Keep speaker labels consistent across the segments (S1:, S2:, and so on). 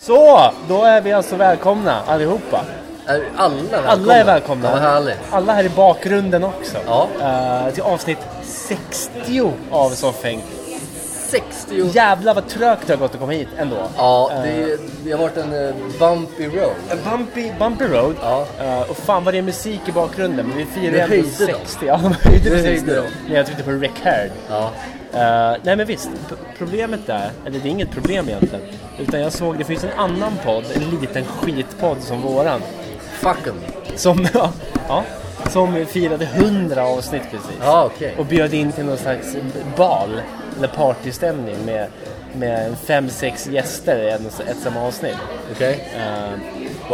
S1: Så, då är vi alltså välkomna allihopa.
S2: Är alla välkomna?
S1: Alla är välkomna.
S2: Ja, vad härligt.
S1: Alla här i bakgrunden också.
S2: Ja.
S1: Eh, till avsnitt 60 av Soffhäng.
S2: 60
S1: Jävlar vad trögt det har gått att komma hit ändå.
S2: Ja,
S1: Eh,
S2: det, det har varit en eh, bumpy road.
S1: Bumpy, bumpy Road.
S2: Ja.
S1: Eh, och fan vad det är musik i bakgrunden. Men vi firar
S2: Det
S1: ändå
S2: höjde dem.
S1: 60. Ja, de höjde
S2: Det
S1: precis
S2: höjde
S1: nu.
S2: dem.
S1: När jag tryckte på record.
S2: Ja.
S1: Eh, nej men visst, P- problemet där, eller det är inget problem egentligen. Utan jag såg, det finns en annan podd, en liten skitpodd som våran.
S2: Fuck 'em.
S1: Som, ja, ja, som firade 100 avsnitt precis.
S2: Ja, okej.
S1: Och bjöd in till någon slags bal, eller partystämning med, med fem, sex gäster i en- ett samma avsnitt.
S2: Okej.
S1: Eh,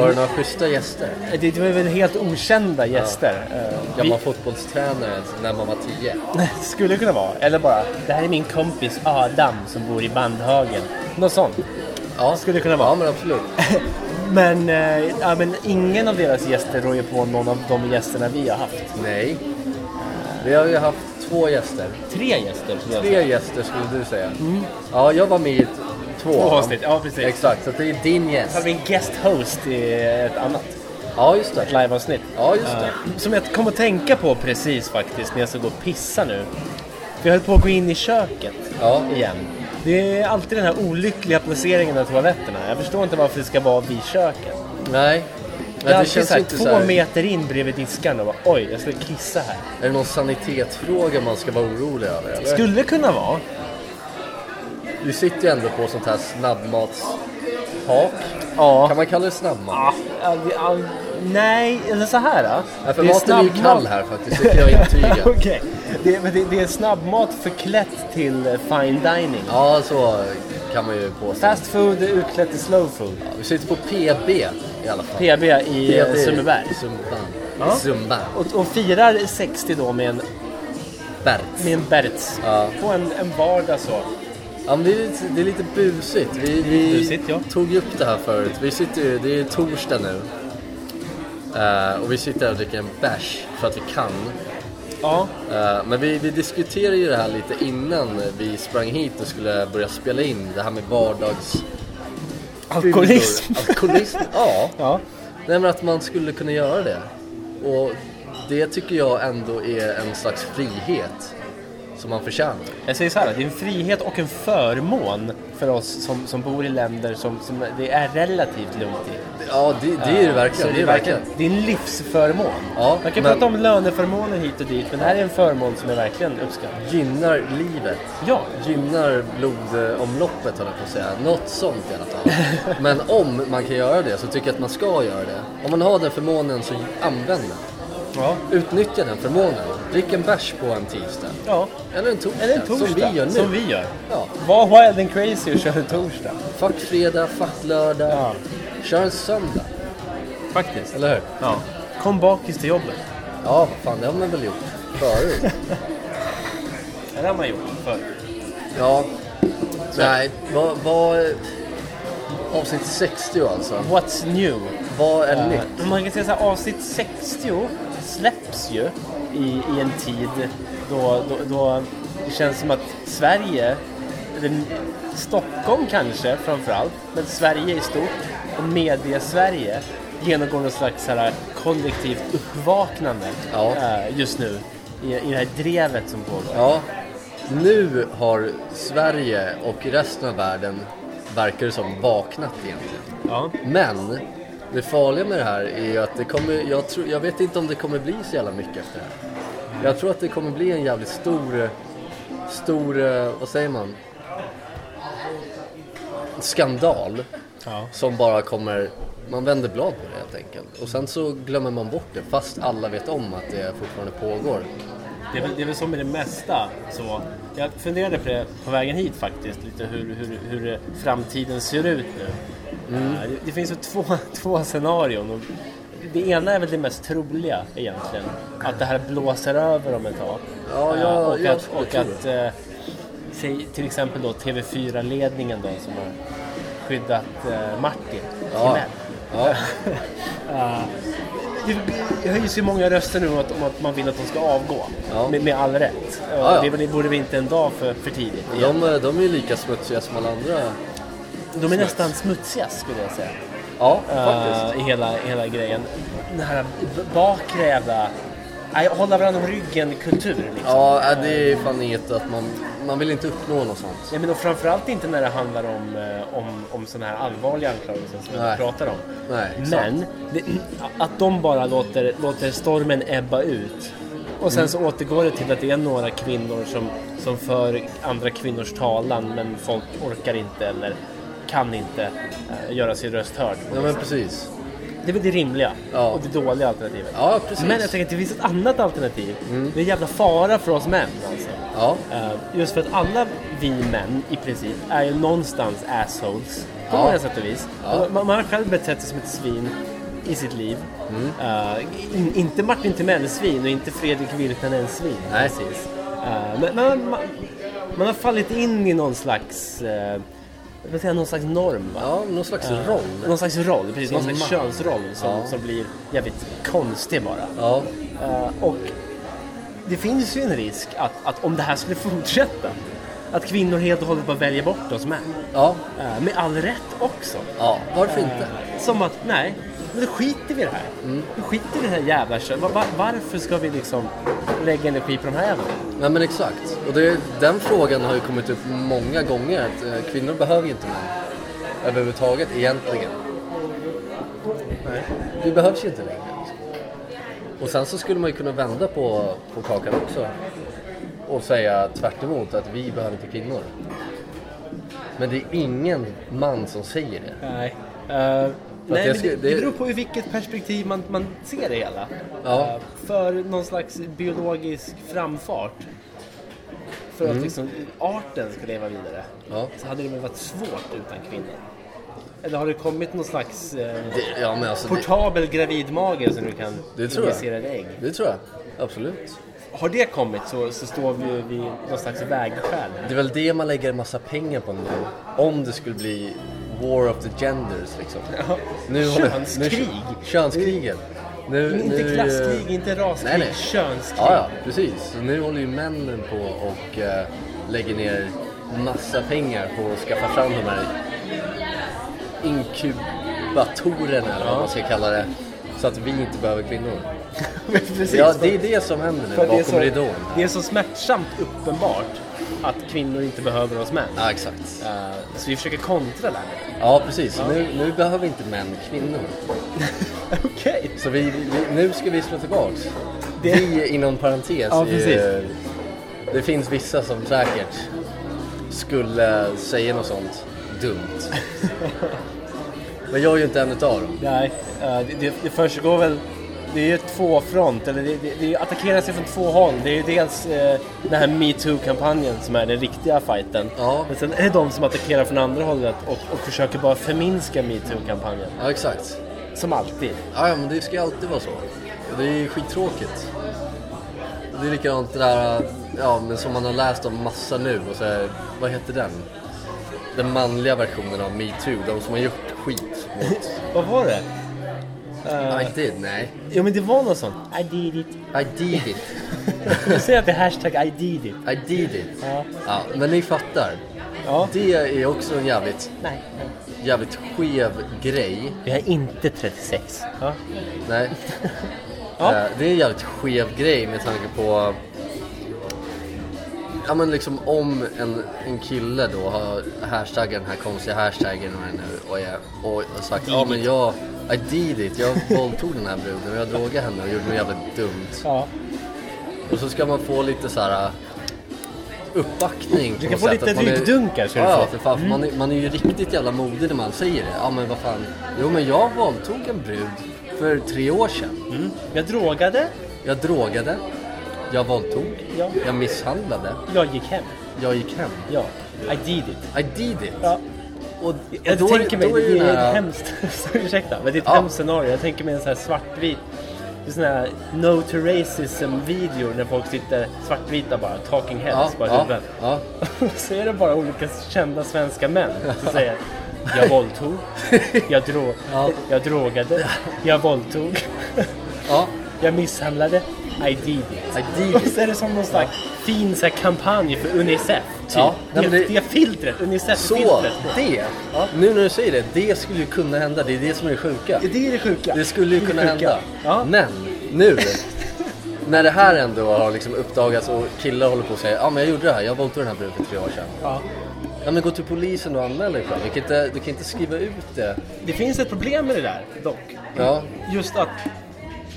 S2: Var det några schyssta gäster?
S1: det var väl helt okända gäster. Eh, vi-
S2: Gammal fotbollstränare när man var 10.
S1: Skulle kunna vara. Eller bara, det här är min kompis Adam som bor i Bandhagen. Något sånt.
S2: Ja.
S1: Skulle kunna vara.
S2: Ja, men absolut.
S1: Men, eh, ja, men ingen av deras gäster rår ju på någon av de gästerna vi har haft.
S2: Nej. Vi har ju haft två gäster.
S1: Tre gäster skulle jag säga.
S2: Tre gäster skulle du säga. Ja, jag var med i t- två.
S1: Mm. Två avsnitt, ja precis.
S2: Exakt, så det är din
S1: Sen har
S2: gäst.
S1: vi en guest host i ett annat
S2: Ja, just det.
S1: liveavsnitt.
S2: Ja, just det.
S1: Eh, som jag kom att tänka på precis faktiskt när jag ska gå och pissa nu. För jag höll på att gå in i köket
S2: Ja.
S1: igen. Det är alltid den här olyckliga placeringen av toaletterna. Jag förstår inte varför det ska vara vid köket.
S2: Nej.
S1: Det är
S2: Ja, det
S1: alltid
S2: känns
S1: så här,
S2: inte
S1: två
S2: så här.
S1: meter in bredvid diskarna och bara oj, jag skulle kissa här.
S2: Är det någon sanitetsfråga man ska vara orolig över? Eller?
S1: Skulle kunna vara.
S2: Du sitter ju ändå på sånt här snabbmatshak.
S1: Ja.
S2: Kan man kalla det snabbmat?
S1: Ah, all, all, nej, eller så här då.
S2: Ja, för
S1: Det är
S2: maten är ju
S1: snabbmat-
S2: kall här faktiskt, det kan jag intyga.
S1: Okej. Det, men det, det är snabbmat förklätt till eh, fine dining.
S2: Ja, så kan man ju påstå.
S1: Fast food är utklätt till slow food.
S2: Ja, Vi sitter på PB i alla fall.
S1: PB i eh, Sundbyberg.
S2: Sundbyberg.
S1: Ja.
S2: Sundbyberg.
S1: Och, och firar 60 då med en,
S2: Berts.
S1: med en Berts.
S2: Ja.
S1: På en, en vardag så.
S2: Ja, men det, är lite, det är lite busigt. Vi, vi
S1: Busigt, ja.
S2: tog ju upp det här förut. Vi sitter ju, det är torsdag nu. Eh, och vi sitter här och dricker en bärs för att vi kan.
S1: Ja.
S2: Eh, men vi, vi diskuterade ju det här lite innan vi sprang hit och skulle börja spela in. Det här med vardags...
S1: Alkoholism.
S2: Alkoholism, ja.
S1: Ja.
S2: Nej men att man skulle kunna göra det. Och det tycker jag ändå är en slags frihet som man förtjänar.
S1: Jag säger så här, det är en frihet och en förmån för oss som, som bor i länder som, som det är relativt lugnt i.
S2: Ja, det, det är det
S1: Så
S2: verkligen. Det Eh, är det verkligen.
S1: det är en livsförmån.
S2: Ja,
S1: Man kan
S2: men-
S1: prata om löneförmåner hit och dit, men det här är en förmån som jag verkligen uppskattar.
S2: Gynnar livet.
S1: Ja,
S2: Gynnar blodomloppet höll jag på att säga. Något sånt i alla fall. Men om man kan göra det så tycker jag att man ska göra det. Om man har den förmånen så använd den.
S1: ja,
S2: Utnyttja den förmånen. Drick en bärs på en tisdag.
S1: ja.
S2: Eller en torsdag.
S1: Eller en torsdag,
S2: Som vi gör nu.
S1: Som vi gör.
S2: Ja.
S1: Var wild and crazy och kör en torsdag.
S2: Fuck fredag, fuck lördag.
S1: Ja.
S2: Kör en söndag.
S1: Faktiskt.
S2: Eller hur?
S1: Ja. Kom bakis till jobbet.
S2: Ja, vad fan det har man väl gjort förut.
S1: Det har man gjort förr.
S2: ja. Nej, vad... vad avsnitt 60 alltså.
S1: What's new?
S2: Vad är nytt?
S1: Men Man kan säga så här, avsnitt 60 släpps ju i, i en tid då, då, då det känns som att Sverige, eller Stockholm kanske framförallt, men Sverige i stort och media-Sverige genomgår någon slags så här kollektivt uppvaknande
S2: Ja.
S1: eh, just nu i, i det här drevet som pågår.
S2: Ja, nu har Sverige och resten av världen, verkar det som, vaknat egentligen.
S1: Ja.
S2: Men det farliga med det här är ju att det kommer, jag, tror, jag vet inte om det kommer bli så jävla mycket efter det här. Jag tror att det kommer bli en jävligt stor, eh, stor, eh, vad säger man? Skandal
S1: Ja.
S2: som bara kommer, man vänder blad på det helt enkelt. Och sen så glömmer man bort det fast alla vet om att det fortfarande pågår.
S1: Det är, väl, det är väl som med det mesta. Så jag funderade på det på vägen hit faktiskt, lite hur, hur, hur framtiden ser ut nu.
S2: Mm.
S1: Eh, Det, det finns ju två, två scenarion. Och det ena är väl det mest troliga egentligen, att det här blåser över om ett tag.
S2: Ja,
S1: Eh,
S2: jag-
S1: och
S2: jag
S1: att,
S2: skulle
S1: och
S2: tro
S1: att eh, säg, till exempel då TV4-ledningen då, som har skyddat eh, Martin
S2: Ja.
S1: Timell.
S2: Ja.
S1: Det- Eh, Det höjs ju många röster nu att- om att man vill att de ska avgå.
S2: Ja.
S1: Med, med all rätt. Eh,
S2: Ja, ja. eh,
S1: Det, det borde vi inte en dag för, för tidigt.
S2: De, de är ju lika smutsiga som alla andra
S1: de är
S2: smuts.
S1: nästan smutsiga skulle jag säga.
S2: Ja,
S1: Eh,
S2: faktiskt.
S1: I hela, i hela grejen. Den här b- bakre jävla... Nej, hålla varandra om ryggen-kultur liksom.
S2: Ja, äh, det är fan inget att man... Man vill inte uppnå något sånt.
S1: Nej, men och framförallt inte när det handlar om, eh, om, om sådana här allvarliga anklagelser som vi
S2: Nej.
S1: pratar om.
S2: Nej, exakt.
S1: Men det, att de bara låter, låter stormen ebba ut och
S2: Mm.
S1: sen så återgår det till att det är några kvinnor som, som för andra kvinnors talan men folk orkar inte eller kan inte eh, göra sin röst hörd.
S2: Ja, men precis.
S1: Det är väl det rimliga
S2: Ja.
S1: och det dåliga alternativet.
S2: Ja, precis. Mm.
S1: Men jag tänker att det finns ett annat alternativ. Det är en jävla fara för oss män alltså.
S2: Ja,
S1: Eh, Just för att alla vi män i princip är ju någonstans assholes. På
S2: Ja.
S1: många sätt och vis.
S2: Ja.
S1: Man, man har själv betett sig som ett svin i sitt liv.
S2: Mm.
S1: Eh, in, inte Martin Timell-svin och inte Fredrik Virtanen-svin.
S2: Nej.
S1: precis. Eh, men men man, man har fallit in i någon slags, eh, vad ska jag säga, någon slags norm. Va?
S2: ja någon slags roll.
S1: Någon slags roll, precis. Någon slags
S2: makt.
S1: könsroll som,
S2: Ja.
S1: som blir jävligt konstig bara.
S2: Ja,
S1: Eh, och det finns ju en risk att, att om det här skulle fortsätta, att kvinnor helt och hållet bara väljer bort oss män.
S2: ja,
S1: Eh, med all rätt också. Eh,
S2: ja. Varför inte?
S1: Som att, nej, men då skiter vi i det här.
S2: Mm.
S1: Då skiter vi i det här jävla kö- va- va- Varför ska vi liksom lägga energi på de här jävlarna?
S2: Nej men exakt. Och det, den frågan har ju kommit upp många gånger. Att eh, kvinnor behöver ju inte män. Överhuvudtaget egentligen.
S1: Nej.
S2: Vi behövs ju inte längre. Och sen så skulle man ju kunna vända på, på kakan också. Och säga tvärt emot att vi behöver inte kvinnor. Men det är ingen man som säger det.
S1: Nej.
S2: jag
S1: Eh, nej, men
S2: ska-
S1: det,
S2: det-
S1: det beror på ur vilket perspektiv man, man ser det hela. Eh,
S2: Ja,
S1: För någon slags biologisk framfart. För
S2: Mm.
S1: att liksom arten ska leva vidare.
S2: ja.
S1: Så hade det väl varit svårt utan kvinnor? Eller har det kommit någon slags eh,
S2: Det, ja men alltså, det,
S1: portabel gravidmage som du kan
S2: Det tror jag.
S1: injicera ett ägg?
S2: det tror jag. Absolut.
S1: Har det kommit så, så står vi ju vid någon slags vägskäl.
S2: Det är väl det man lägger en massa pengar på nu. Om det skulle bli War of the Genders liksom. Nu har-
S1: Könskrig.
S2: Nu, könskriget. Nu,
S1: Inte
S2: nu,
S1: klasskrig, inte raskrig,
S2: Nej, nej.
S1: könskrig.
S2: Ja, ja, precis. Så nu håller ju männen på och eh, lägger ner massa pengar på att skaffa fram de här inkubatorerna eller vad man ska kalla det. Så att vi inte behöver kvinnor.
S1: Precis,
S2: Ja,
S1: för-
S2: det är det som händer nu
S1: för det, är
S2: bakom
S1: så,
S2: ridån.
S1: det är så smärtsamt uppenbart att kvinnor inte behöver oss män.
S2: Ja, exakt.
S1: Eh, så vi försöker kontra där.
S2: Ja, precis. Så Nu, nu behöver inte män kvinnor.
S1: Okej.
S2: Så vi, vi, nu ska vi slå tillbaks.
S1: Det-
S2: Vi inom parentes.
S1: Ja,
S2: är-
S1: precis.
S2: det finns vissa som säkert skulle säga något sånt dumt. Men jag är ju inte en utav dem.
S1: Nej, eh, det, det, det försiggår väl... Det är ju två front, eller det, det, det attackeras ju från två håll. Det är ju dels eh, den här metoo-kampanjen som är den riktiga fighten.
S2: Ja.
S1: Men sen är det de som attackerar från andra hållet och, och försöker bara förminska metoo-kampanjen.
S2: Ja, exakt.
S1: Som alltid.
S2: Ja, ja, men det ska ju alltid vara så. Och Det är ju skittråkigt. Det är likadant det där ja, men som man har läst om massa nu. Och så här, vad heter den? Den manliga versionen av metoo. De som har gjort skit mot...
S1: Vad var det?
S2: I did, nej.
S1: Jo men det var något sånt. I did it.
S2: I did it.
S1: Du säger att det är hashtag I did it.
S2: I did it.
S1: Ja.
S2: Ja, men ni fattar.
S1: ja.
S2: Det är också en jävligt,
S1: Nej.
S2: jävligt skev grej.
S1: Jag är inte 36. Ja.
S2: Nej.
S1: Ja.
S2: Eh, Det är en jävligt skev grej med tanke på... Ja men liksom om en, en kille då har hashtaggat den här konstiga hashtaggen och, nu, och, jag, och och sagt ja men jag, I did it, jag våldtog den här bruden och jag drogade henne och gjorde något jävligt dumt.
S1: ja.
S2: Och så ska man få lite så här äh, uppbackning. på
S1: Du kan
S2: något
S1: få
S2: sätt,
S1: lite
S2: att man är-
S1: ryggdunkar, ska du
S2: Ja,
S1: få.
S2: ja, för fan. för Man, är, man är ju riktigt jävla modig när man säger det. Ja, men vad fan. Jo, men jag våldtog en brud för tre år sedan.
S1: Mm. Jag drogade.
S2: Jag drogade. Jag våldtog.
S1: Ja.
S2: Jag misshandlade.
S1: Jag gick hem.
S2: Jag gick hem.
S1: Ja. I did it.
S2: I did it.
S1: Ja.
S2: Och, och
S1: Jag
S2: då är-
S1: tänker mig,
S2: då är ju
S1: det
S2: den
S1: är
S2: här-
S1: ett hemskt, ursäkta, men det är ett
S2: Ja.
S1: hemskt scenario. Jag tänker mig en sån här svartvit, en sån här No to Racism-video när folk sitter svartvita bara, talking
S2: Ja,
S1: heads alltså, bara i
S2: ja,
S1: huvudet.
S2: ja.
S1: Och så är det bara olika kända svenska män som säger jag våldtog, jag, dro-
S2: Ja.
S1: jag drogade, jag våldtog,
S2: ja.
S1: jag misshandlade, I did it.
S2: I did
S1: Och
S2: it.
S1: så är det som någon slags fin så här, kampanj för Unicef. Typ.
S2: Ja,
S1: det,
S2: nej, men
S1: det...
S2: det-
S1: är filtret,
S2: Så,
S1: Unicef-filtret.
S2: det! Nu när du säger det, det skulle ju kunna hända. Det är det som är det sjuka.
S1: Det är det sjuka.
S2: Det skulle ju
S1: är
S2: kunna
S1: sjuka.
S2: hända.
S1: Ja.
S2: Men nu, när det här ändå har liksom uppdagats och killar håller på och säger ja men jag gjorde det här, jag våldtog den här bruden för tre år sedan.
S1: Ja.
S2: Ja men gå till polisen och anmäl dig själv. Du kan inte, du kan inte skriva ut det.
S1: Det finns ett problem med det där dock.
S2: Ja,
S1: Just att,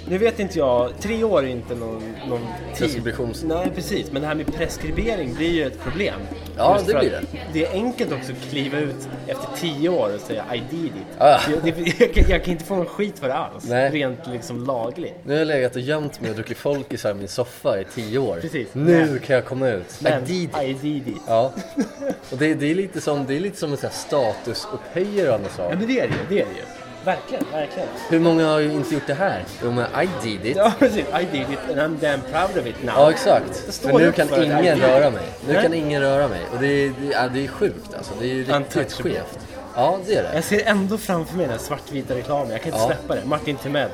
S1: nu vet inte jag, tre år är inte någon, någon tid.
S2: Preskriptions-
S1: Nej precis, men det här med preskribering blir ju ett problem.
S2: Ja, det
S1: för
S2: blir
S1: att Det är enkelt också att kliva ut efter tio år och säga I did it.
S2: Ja.
S1: Det, det, jag, kan, jag kan inte få någon skit för det alls,
S2: Ah. Nej.
S1: rent liksom lagligt.
S2: nu har jag legat och gömt mig och druckit folkisar i min soffa i tio år.
S1: Precis.
S2: Nu
S1: Men-
S2: kan jag komma ut.
S1: Men
S2: I did it.
S1: I did it.
S2: Ja. Och det, det är lite som, det är lite som en sån här statusupphöjande sak.
S1: Ja men det är det ju, det är det ju. Verkligen, verkligen.
S2: Hur många har ju inte gjort det här? Jo men I did it.
S1: Ja precis, I did it and I'm damn proud of it now.
S2: Ja, exakt.
S1: Det står
S2: För nu
S1: upp
S2: kan
S1: för det.
S2: ingen
S1: Nej.
S2: röra mig. Nu
S1: Nej.
S2: kan ingen röra mig. Och det är, det är, det är sjukt alltså. Det är ju riktigt
S1: Untouchable.
S2: skevt. Ja, det är det.
S1: Jag ser ändå framför mig den här svartvita reklamen. Jag kan inte
S2: Ja.
S1: släppa det. Martin Timell.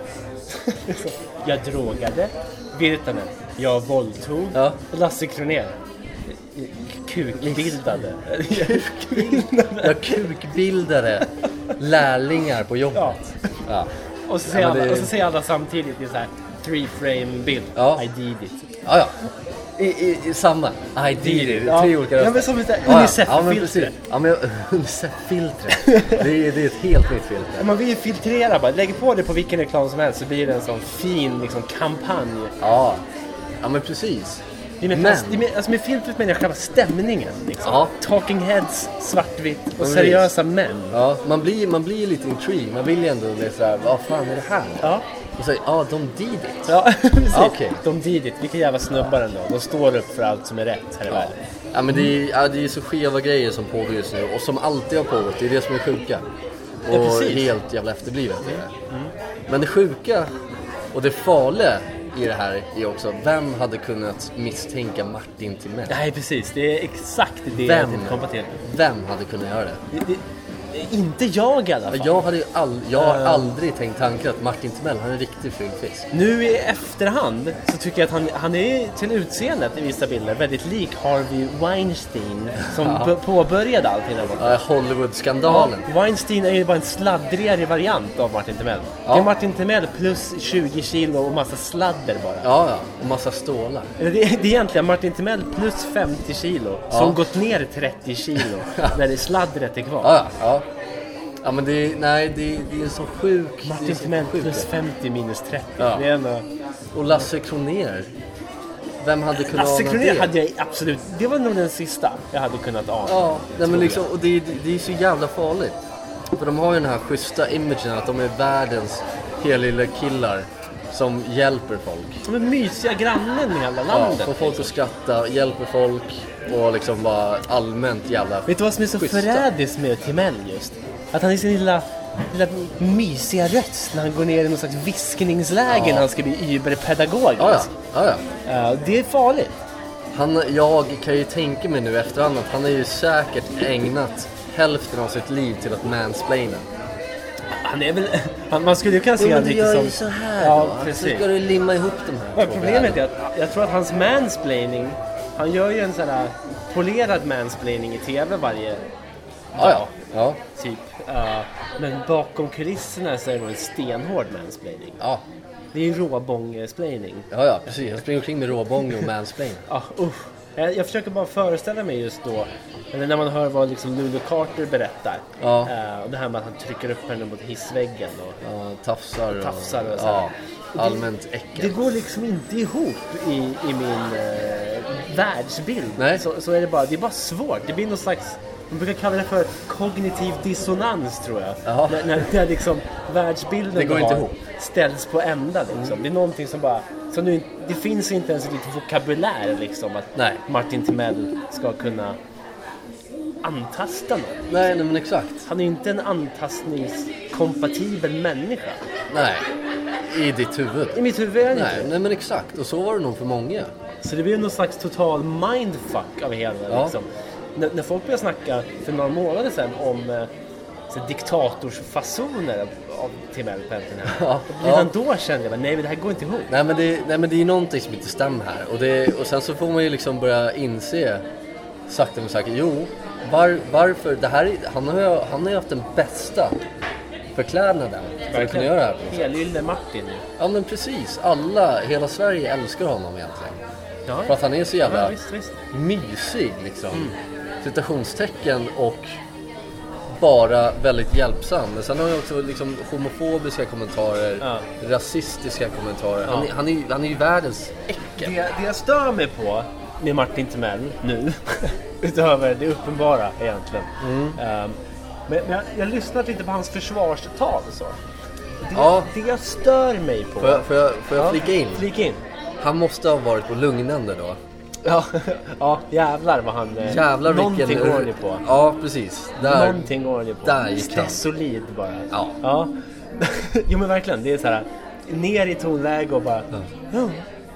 S1: jag drogade. Virtanen. Jag våldtog.
S2: Ja.
S1: Lasse Kronér. Kukbildade.
S2: Jag kukbildade lärlingar på
S1: ja.
S2: jobbet. Ja.
S1: Och så säger
S2: Ja, men
S1: alla,
S2: det-
S1: och så säger alla samtidigt. Det är så här, three frame bild.
S2: Ja.
S1: I did it.
S2: Ja, ja. I, i, i samma. I did it.
S1: Ja.
S2: Tre olika
S1: Ja,
S2: röster.
S1: men som ett där
S2: ja. Ja, men
S1: Unicef-filter.
S2: precis. Ja, men Unicef-filtret. Det är, det är ett helt nytt filter.
S1: Man vill ju filtrera bara. Lägg på det på vilken reklam som helst så blir det en sån fin liksom, kampanj.
S2: Ja. Ja, men precis.
S1: Det är med,
S2: Men-
S1: fast, det är med, alltså med filtret menar jag själva stämningen. Liksom.
S2: Ja.
S1: Talking heads, svartvitt och
S2: precis.
S1: seriösa män.
S2: Ja, man blir, man blir lite intrigued. Man vill ju ändå bli sådär, vad fan är det här?
S1: Ja,
S2: Och så, ja, de did it.
S1: ja precis.
S2: Ja, okej.
S1: De did it. Vilka jävla snubbar ändå. De står upp för allt som är rätt här i
S2: Ja.
S1: världen.
S2: Ja, men det är, ja, det är så skeva grejer som pågår just nu och som alltid har pågått. Det är det som är sjuka. Och
S1: Ja, precis. Mm,
S2: helt jävla efterblivet är det. Men det sjuka och det farliga i det här är också, vem hade kunnat misstänka Martin Timell?
S1: Nej, precis. Det är exakt det jag
S2: Vem?
S1: tänkte komma till.
S2: Vem hade kunnat göra det?
S1: Det, det, det är inte jag i alla fall.
S2: Jag, hade ju all, jag har
S1: Eh.
S2: aldrig tänkt tanken att Martin Timell, han är en riktig ful fisk.
S1: Nu i efterhand så tycker jag att han, han är till utseendet i vissa bilder väldigt lik Harvey Weinstein som
S2: Ja.
S1: b- påbörjade allting där borta.
S2: Ja, Hollywood-skandalen.
S1: Weinstein är ju bara en sladdrigare variant av Martin Timell.
S2: Ja.
S1: Det är Martin Timell plus 20 kilo och massa sladder bara.
S2: Ja, ja. Och massa stålar.
S1: Eller Det, är, det är egentligen Martin Timell plus 50 kilo som gått ner 30 kilo när det sladdret är kvar.
S2: Ja, ja. ja. Ja men det är, nej det är, det är så sjuk... det är
S1: Martin
S2: så
S1: Timell
S2: sjuk-
S1: plus 50 minus 30.
S2: Ja.
S1: Det är ändå...
S2: Och Lasse Kronér. Vem hade kunnat
S1: Lasse
S2: ana
S1: Kronér
S2: det?
S1: hade jag absolut... Det var nog den sista jag hade kunnat ana.
S2: Ja, nej,
S1: tror jag.
S2: men liksom, och det, är- det är så jävla farligt. För de har ju den här schyssta imagen att de är världens heliga killar som hjälper folk.
S1: Som den mysiga grannen i hela
S2: Ja,
S1: landet. liksom.
S2: får folk att skratta, hjälper folk och liksom bara allmänt jävla...
S1: Vet du vad som är så
S2: Schyssta.
S1: förrädiskt med Timell just? Att han i sin lilla, lilla mysiga röst när han går ner i någon slags viskningsläge när han ska bli überpedagog.
S2: Ja, ja, ja, ja.
S1: Eh, det är farligt.
S2: Han, jag kan ju tänka mig nu efterhand att han har ju säkert ägnat hälften av sitt liv till att mansplaina.
S1: Han är väl... Han, man skulle ju kunna se
S2: Jo, men
S1: honom
S2: du
S1: lite
S2: gör
S1: som...
S2: ju så här
S1: Ja,
S2: då. Så
S1: precis.
S2: ska du limma ihop de här
S1: Men
S2: två
S1: problemet
S2: världarna.
S1: är att jag tror att hans mansplaining, han gör ju en sån här polerad mansplaining i TV varje,
S2: Ja, ja. ja.
S1: typ. Eh, men bakom kulisserna så är det nog en stenhård mansplaining.
S2: Ja,
S1: Det är ju råbångesplaining.
S2: ja, ja precis. Han springer omkring med råbång och mansplain.
S1: Ja, usch. Ah, Jag, jag försöker bara föreställa mig just då, eller när man hör vad liksom Lulu Carter berättar.
S2: Ja.
S1: Eh, och det här med att han trycker upp henne mot hissväggen. Och,
S2: Ja, tafsar och...
S1: Tafsar och så här.
S2: ja, allmänt äckel.
S1: det går liksom inte ihop i, i min eh, världsbild.
S2: Nej.
S1: Så, så är det, bara, det är bara svårt. Det blir någon slags, man brukar kalla det för kognitiv dissonans tror jag.
S2: Ja.
S1: När, när, när liksom världsbilden
S2: Det går
S1: du
S2: inte
S1: har
S2: ihop. Mm.
S1: ställs på ända. Liksom. Det är någonting som bara, som nu, det finns inte ens i ditt vokabulär liksom, att
S2: Nej.
S1: Martin Timell ska kunna antasta någon.
S2: Nej, nej, men exakt.
S1: Han är ju inte en antastningskompatibel människa.
S2: Nej, i ditt huvud.
S1: I mitt huvud är han inte
S2: Nej, nej, men exakt. Och så var det nog för många.
S1: Så det blev någon slags total mindfuck av hela
S2: Ja.
S1: liksom. N- när folk började snacka för några månader sedan om eh, så så diktatorsfasoner av- av Tim L. Penton här.
S2: Ja,
S1: Och Redan
S2: ja.
S1: då kände jag bara, nej men det här går inte ihop.
S2: Nej men, det, nej men det är någonting som inte stämmer här och, det, och sen så får man ju liksom börja inse sakta men säkert, jo var, varför, det här, är- han, har ju, han har ju haft den bästa förklädnaden för att kunna göra det här på något sätt.
S1: Helylle Martin ju.
S2: Ja men precis, alla, hela Sverige älskar honom egentligen.
S1: Ja,
S2: För att han är så jävla
S1: ja, visst, visst.
S2: mysig liksom. Citationstecken och bara väldigt hjälpsam. Men sen har han också liksom homofobiska kommentarer,
S1: Ja.
S2: rasistiska kommentarer. Han,
S1: Ja.
S2: är, han, är, ju- han är ju världens äckel.
S1: Det, det jag stör mig på med Martin Timell nu, utöver det uppenbara egentligen.
S2: Mm.
S1: Ehm, men men jag, jag har lyssnat lite på hans försvarstal och så. Det,
S2: Ja.
S1: det jag stör mig på...
S2: Får jag, får jag, får jag flika in?
S1: Flika in.
S2: Han måste ha varit på lugnande då.
S1: Ja, ja jävlar vad han... eh,
S2: Jävlar vilken...
S1: någonting går det på.
S2: Ja, precis. Där.
S1: Någonting går det på.
S2: där gick han.
S1: Solid bara.
S2: Ja.
S1: ja. jo men verkligen, det är så här ner i tonläge och bara... Ja.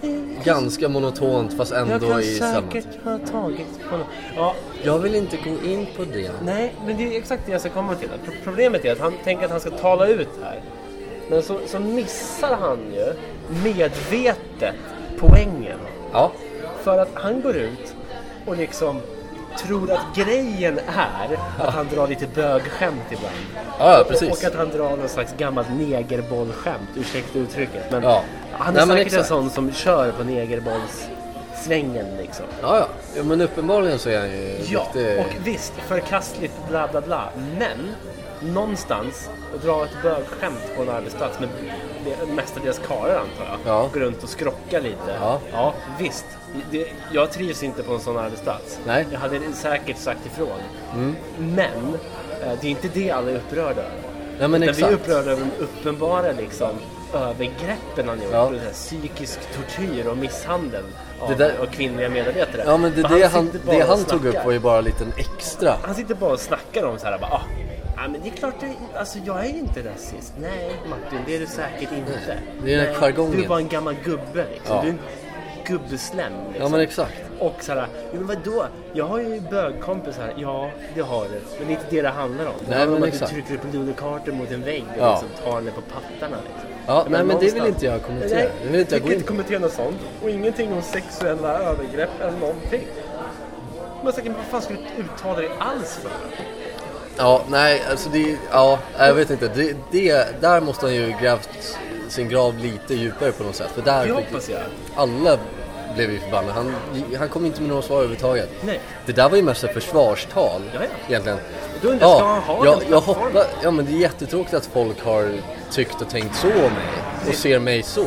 S1: eh,
S2: Ganska monotont fast
S1: Jag
S2: ändå
S1: kan
S2: i samma...
S1: säkert ha tagit på något. Ja,
S2: Jag vill inte gå in på det.
S1: Nej, men det är exakt det jag ska komma till. Pro- Problemet är att han tänker att han ska tala ut här. Men så, så missar han ju medvetet poängen.
S2: Ja,
S1: För att han går ut och liksom tror att grejen är att han drar lite bögskämt ibland.
S2: ja
S1: Och
S2: precis.
S1: att han drar någon slags gammalt negerbollskämt, ursäkta uttrycket. Men
S2: Ja.
S1: han
S2: Nej,
S1: är
S2: men
S1: säkert en
S2: exakt.
S1: sån som kör på negerbollssvängen liksom.
S2: Ja, ja. ja, men uppenbarligen så är han ju
S1: Ja,
S2: riktig-
S1: och visst, förkastligt bla bla bla. Men någonstans, att dra ett bögskämt på en arbetsplats med det- mestadels karlar antar jag.
S2: Ja.
S1: Gå runt och skrocka lite.
S2: Ja.
S1: visst. Det, jag trivs inte på en sån arbetsplats.
S2: Nej. Mm.
S1: Jag hade säkert sagt ifrån. Men eh, det är inte det alla är upprörda över.
S2: Nej, men
S1: Utan vi är
S2: exakt.
S1: upprörda över de uppenbara liksom, övergreppen han gjort.
S2: Ja.
S1: Och det här Psykisk tortyr och misshandel av,
S2: Det där-
S1: av kvinnliga medarbetare.
S2: Ja, men det,
S1: Men
S2: det han,
S1: sitter bara
S2: det
S1: och
S2: han tog upp
S1: snackar.
S2: var ju bara en liten extra.
S1: Han sitter bara och snackar om så här, bara, ah, ja, men det är klart, det, alltså jag är inte rasist. Nej Martin, det är du säkert inte.
S2: det är den
S1: Nej,
S2: jargongen.
S1: Du är bara en gammal gubbe liksom.
S2: Ja.
S1: Du är en gubbeslem liksom.
S2: Ja, men exakt.
S1: Och så här, jo, men vadå? Jag har ju bögkompisar. Ja, det har du. Men det är inte det det handlar om. Det
S2: Nej,
S1: handlar om
S2: men
S1: att
S2: exakt.
S1: du trycker upp Lunar Carter mot en vägg och
S2: Ja.
S1: liksom tar henne på pattarna. Liksom.
S2: Ja, nej, men det vill
S1: någonstans-
S2: inte jag kommentera.
S1: Nej,
S2: Det vill inte jag
S1: vi
S2: gå
S1: kan
S2: in
S1: inte
S2: på.
S1: kommentera något sånt. Och ingenting om sexuella övergrepp eller någonting. Men säkert, vad fan skulle du uttala dig alls för?
S2: Ja, nej, alltså det, ja, jag vet inte. Det, det, där måste han ju grävt sin grav lite djupare på något sätt. För där
S1: Det
S2: fick-
S1: hoppas jag.
S2: alla blev ju förbannade. Han, han kom inte med några svar överhuvudtaget.
S1: Nej.
S2: Det där var ju mest ett försvarstal
S1: Ja, ja.
S2: egentligen.
S1: Då undrar jag, ska han ha
S2: jag,
S1: den
S2: jag
S1: plattformen?
S2: hoppas, ja men det är jättetråkigt att folk har tyckt och tänkt så om mig och ser mig så.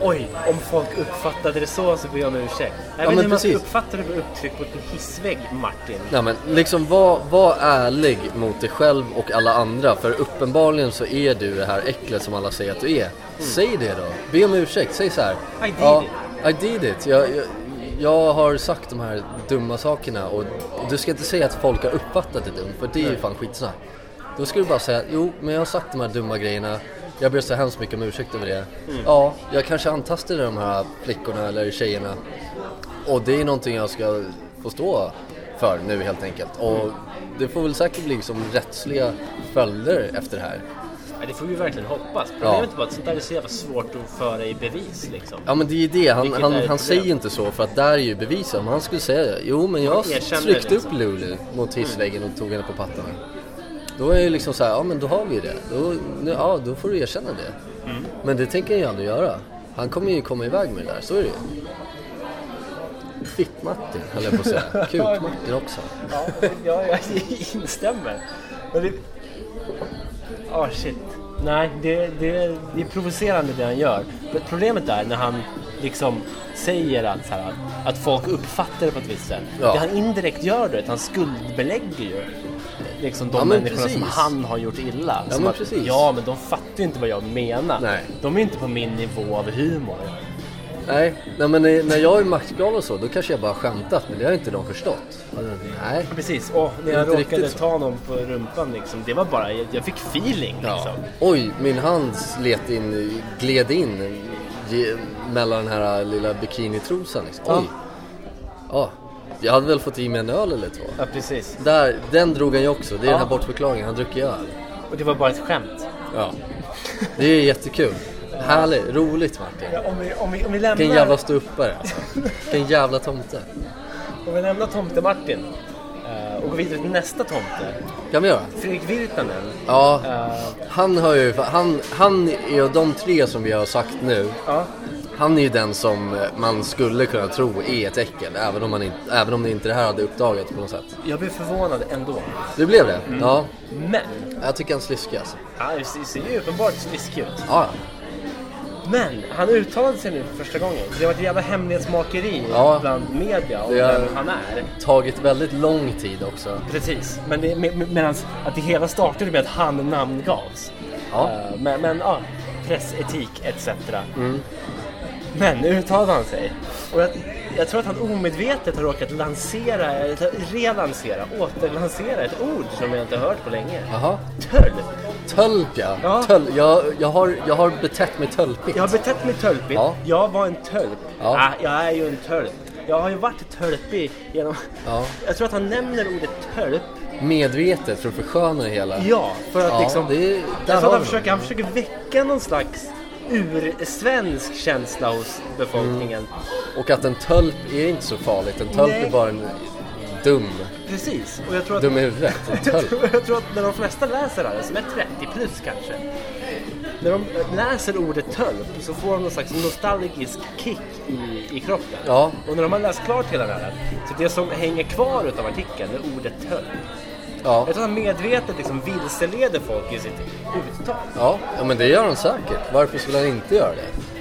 S1: Oj, om folk uppfattade det så så ber jag om ursäkt. Jag vet
S2: Ja, men
S1: inte hur man ska
S2: precis.
S1: uppfatta det på upptryck mot en hissvägg, Martin.
S2: Nej men liksom var, var ärlig mot dig själv och alla andra för uppenbarligen så är du det här äcklet som alla säger att du är. Säg det då, be om ursäkt, säg så här.
S1: Mm. I did
S2: ja,
S1: it."
S2: I did it. Jag, jag, jag har sagt de här dumma sakerna och, och du ska inte säga att folk har uppfattat det dumt för det är ju fan skitsnack. Då ska du bara säga, jo men jag har sagt de här dumma grejerna, jag ber så hemskt mycket om ursäkt över det.
S1: Mm.
S2: Ja, jag kanske antastade de här flickorna eller tjejerna. Och det är någonting jag ska få stå för nu helt enkelt. Och det får väl säkert bli liksom rättsliga följder efter det här.
S1: Ja, det får vi verkligen hoppas. Problemet är bara att sånt där är så jävla svårt att föra i bevis liksom.
S2: Ja men det är ju det, han,
S1: Vilket
S2: han,
S1: är ett
S2: han
S1: problem.
S2: säger inte så för att där är ju bevisen. Om han skulle säga jo men jag
S1: erkänner
S2: tryckte
S1: liksom.
S2: upp Lulu mot hissväggen och tog henne på pattarna. Då är det liksom så här, ja men då har vi ju det. Då, nu, ja, då får du erkänna det.
S1: Mm.
S2: Men det tänker han ju aldrig göra. Han kommer ju komma iväg med det där, så är det ju. Fitt-Martin höll jag på att säga. Kuk-Martin också.
S1: Ja, jag, jag instämmer. Men det... Ah, shit. Nej, det, det, det är provocerande det han gör. Men Problemet är när han liksom säger att, så här, att- att folk uppfattar det på ett visst sätt.
S2: Ja.
S1: Det han indirekt gör då är att han skuldbelägger ju liksom de
S2: Ja, men
S1: människorna som
S2: precis.
S1: han har gjort illa.
S2: Ja,
S1: som
S2: men
S1: att,
S2: precis.
S1: ja, men de fattar ju inte vad jag menar.
S2: Nej.
S1: De är inte på min nivå av humor.
S2: Nej, nej men när när jag är maktgal och så, då kanske jag bara skämtat, men det har inte de förstått. Nej.
S1: Precis, och när
S2: Det är
S1: jag
S2: inte
S1: råkade
S2: riktigt så.
S1: ta någon på rumpan liksom, det var bara, jag, jag fick feeling liksom.
S2: Oj, min hand slet in, gled in ge, mellan den här lilla bikinitrosan liksom. Oj. Ja. Jag hade väl fått i mig en öl eller två.
S1: Ja, precis.
S2: Där, den drog han ju också, det är den här
S1: Ja.
S2: bortförklaringen, han druckit öl.
S1: Och det var bara ett skämt.
S2: Ja. Det är jättekul. Härligt, roligt Martin.
S3: Om vi, om vi, om vi lämnar,
S2: Vilken jävla ståuppare alltså. Vilken jävla tomte.
S1: Om vi lämnar tomte-Martin eh, och går vidare till nästa tomte,
S2: Kan vi göra?
S1: Fredrik Virtanen.
S2: Ja.
S1: Eh,
S2: Han har ju, han, han är ju de tre som vi har sagt nu.
S1: ja.
S2: Han är ju den som man skulle kunna tro är ett äckel. Även om, man inte, även om inte det här hade uppdagats på något sätt.
S1: Jag blev förvånad ändå.
S2: Det blev det?
S1: Mm.
S2: Ja.
S1: Men,
S2: Jag tycker han sliskar alltså.
S1: han ser- ser ju uppenbart sliskig ut.
S2: Ja,
S1: Men han uttalade sig nu för första gången. Det var ett jävla hemlighetsmakeri
S2: Ja.
S1: bland media om
S2: Det är-
S1: vem han är.
S2: tagit väldigt lång tid också.
S1: Precis, men det, med, med, medans att det hela startade med att han namngavs.
S2: Ja.
S1: Eh, men men ja, pressetik etc.
S2: Mm.
S1: Men nu uttalade han sig. Och jag, jag tror att han omedvetet har råkat lansera, eller relansera, återlansera ett ord som jag inte har hört på länge.
S2: Jaha.
S1: Tölp!
S2: Tölp ja.
S1: Ja.
S2: Töl, jag, jag, har, jag har betett mig tölpigt.
S1: Jag har betett mig tölpigt.
S2: Ja.
S1: Jag var en tölp.
S2: Ja.
S1: Ah, jag är ju en tölp. Jag har ju varit tölpig genom...
S2: Ja.
S1: Jag tror att han nämner ordet tölp.
S2: Medvetet för att försköna det hela.
S1: Ja, för att
S2: Ja,
S1: liksom...
S2: det, där
S1: Jag tror
S2: har
S1: att han
S2: vi
S1: försöker, han försöker väcka någon slags ursvensk känsla hos befolkningen.
S2: den. Och att en tölp är inte så farligt. En tölp
S1: Nej.
S2: är bara en dum,
S1: Precis. Och jag tror att...
S2: dum i huvudet. En
S1: Jag
S2: tölp.
S1: tror, jag tror att när de flesta läser det här, som är 30 plus kanske, när de läser ordet tölp så får de någon slags nostalgisk kick i, i kroppen.
S2: Ja.
S1: Och när de har läst klart hela den här, så det som hänger kvar utav artikeln är ordet tölp.
S2: Ja.
S1: Jag tror att han medvetet liksom vilseleder folk i sitt uttal.
S2: Ja. ja, men det gör han säkert. Varför skulle han inte göra det?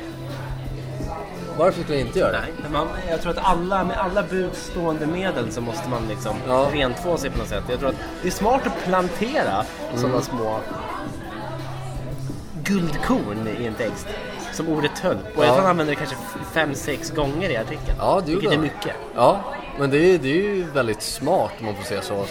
S2: Varför skulle han inte göra det?
S1: Nej, men man, jag tror att alla, med alla budstående medel så måste man liksom
S2: Ja.
S1: rentvå sig på något sätt. Jag tror att det är smart att plantera
S2: Mm.
S1: sådana små guldkorn i en text. Som ordet tölp. Och jag
S2: Ja.
S1: tror han använder det kanske f- fem, sex gånger i artikeln.
S2: Ja, det
S1: Vilket
S2: gjorde
S1: är
S2: han.
S1: mycket.
S2: Ja, men det är, det är ju väldigt smart om man får säga så. eh,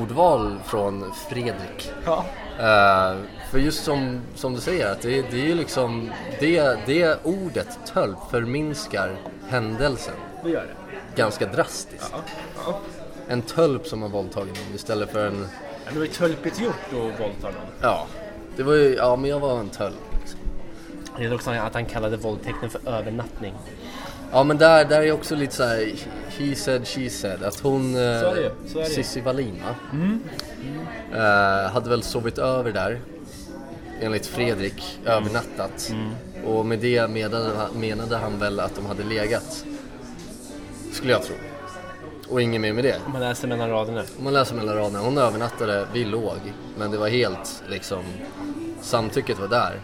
S2: Ordval från Fredrik.
S1: Ja.
S2: Eh, för just som, som du säger, att det, det är ju liksom det, det ordet tölp förminskar händelsen
S1: Det gör det.
S2: ganska drastiskt.
S1: Ja. ja.
S2: En tölp som har våldtagit någon istället för en,
S1: Men Det var ju tölpigt gjort att våldta någon.
S2: ja, det var ju, ja men jag var en tölp. Liksom.
S1: Jag gillar också att han kallade våldtäkten för övernattning.
S2: Ja men där, där är också lite såhär, he said, she said. Att hon, eh,
S1: Så är det ju, så är det Mm. ju.
S2: Cissi Wallin va? Eh, hade väl sovit över där. Enligt Fredrik,
S1: Mm.
S2: övernattat. Och med det menade, han- menade han väl att de hade legat. Skulle jag tro. Och inget mer med det.
S1: Om man läser mellan raderna.
S2: Om man läser mellan raderna, hon övernattade, vi låg. Men det var helt liksom, samtycket var där.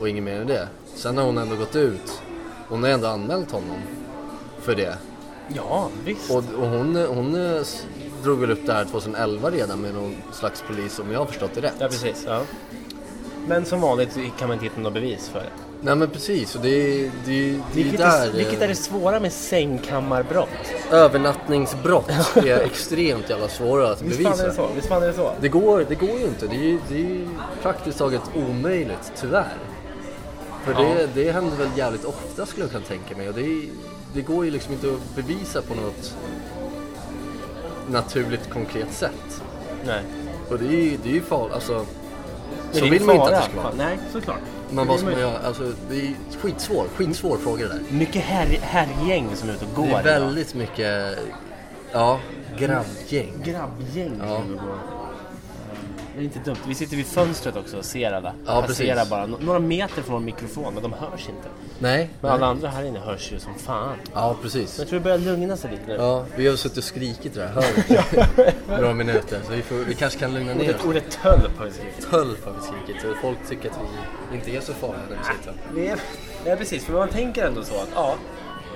S2: Och inget mer än det. Sen har hon ändå gått ut. Hon har ändå anmält honom för det.
S1: Ja, visst.
S2: Och, och hon, hon eh, s- drog väl upp det här 2011 redan med någon slags polis om jag har förstått det rätt.
S1: Ja, precis. Ja. Men som vanligt så kan man inte hitta något bevis för det.
S2: Nej men precis, och det, är- det, är- det är ju
S1: Vilket är,
S2: där...
S1: vilket
S2: eh,
S1: är det svåra med sängkammarbrott?
S2: Övernattningsbrott är extremt jävla svåra att
S1: Visst fan är det
S2: bevisa.
S1: så? Visst fan är det så?
S2: Det går, det går ju inte. Det är ju, det är ju praktiskt taget omöjligt, tyvärr. För det, det händer väl jävligt ofta skulle jag kunna tänka mig. Och det, är- det går ju liksom inte att bevisa på något naturligt konkret sätt.
S1: Nej.
S2: Och det är ju, det är ju farligt. Alltså,
S1: Men
S2: så
S1: är
S2: vill
S1: ju
S2: man inte
S1: fara.
S2: att det ska vara.
S1: Fan, Nej, såklart.
S2: Men
S1: Det är
S2: vad ska man
S1: möjligt.
S2: göra? Alltså, det är skitsvår, skitsvår fråga det där.
S1: Mycket herr, herrgäng som är ute och går.
S2: Det är
S1: idag.
S2: väldigt mycket, ja, grabbgäng.
S1: Grabbgäng som
S2: Ja.
S1: är ute och går. Det är inte dumt. Vi sitter vid fönstret också och ser alla.
S2: Ja,
S1: Passerar
S2: precis.
S1: bara no- några meter från vår mikrofon, men de hörs inte.
S2: Nej.
S1: Men
S2: nej.
S1: alla andra här inne hörs ju som fan.
S2: Ja, precis.
S1: Jag tror det börjar lugna sig lite nu.
S2: Ja, vi har suttit och skrikit det här hörnet i några minuter. Så vi, får, vi kanske kan lugna ner
S1: Ordet,
S2: oss.
S1: ordet tölp har vi skrivit.
S2: Tölp har vi skrikit. Så folk tycker att vi inte är så farliga när vi säger tölp.
S1: Det är, ja, precis. För man tänker ändå så att, ja,